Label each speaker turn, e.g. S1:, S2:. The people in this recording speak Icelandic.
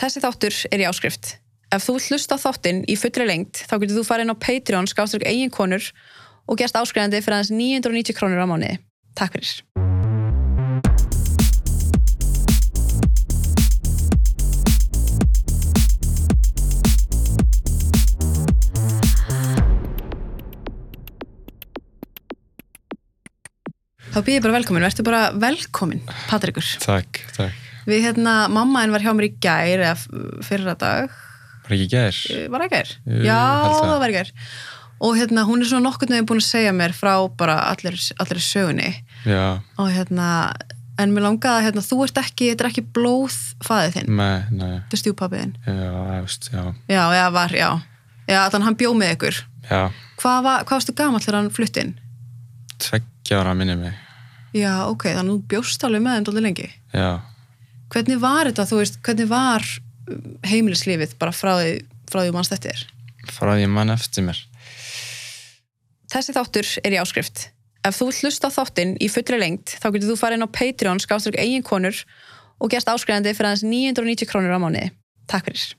S1: Þessi þáttur er í áskrift. Ef þú vill hlusta á þáttinn í fullri lengt, þá getur þú farið inn á Patreon skástrík eiginkonur og gerst áskrifandi fyrir aðeins 990 krónur á mánuði. Takk fyrir. Þá býð ég bara velkomin, verður bara velkomin, Patrikur.
S2: Takk, takk.
S1: Við hérna, mamma henn var hjá mér í gær eða fyrra dag,
S2: Var ekki í gær?
S1: Eh, var það í gær?
S2: Jú,
S1: Já,
S2: held það.
S1: það var í gær og hérna, hún er svona nokkurn veginn búin að segja mér frá bara allir, allir sögunni
S2: Já,
S1: og hérna, en mér langaði að hérna, þú ert ekki, þetta er ekki blóð fæðið þinn,
S2: nei, nei,
S1: þetta er stjúpappið þinn
S2: já, ég veist, já,
S1: Já, já, var, já, já, þannig hann bjó með ykkur
S2: já,
S1: Hvað, var, hvað varstu gamall þegar hann flutt inn?
S2: tveggja ára minni mig,
S1: Já, ok, þannig þú bjóst alveg með þeim dólið lengi
S2: já,
S1: Hvernig var þetta, þú veist, hvernig var um, heimilislífið bara frá því, frá því manns þetta er?
S2: frá því mann eftir mér.
S1: Þessi þáttur er í áskrift. Ef þú vill hlusta á þáttinn í fullri lengt, þá getur þú farið inn á Patreon skástrík eiginkonur og gerst áskrifandi fyrir aðeins 990 krónur á mánuði. Takk fyrir.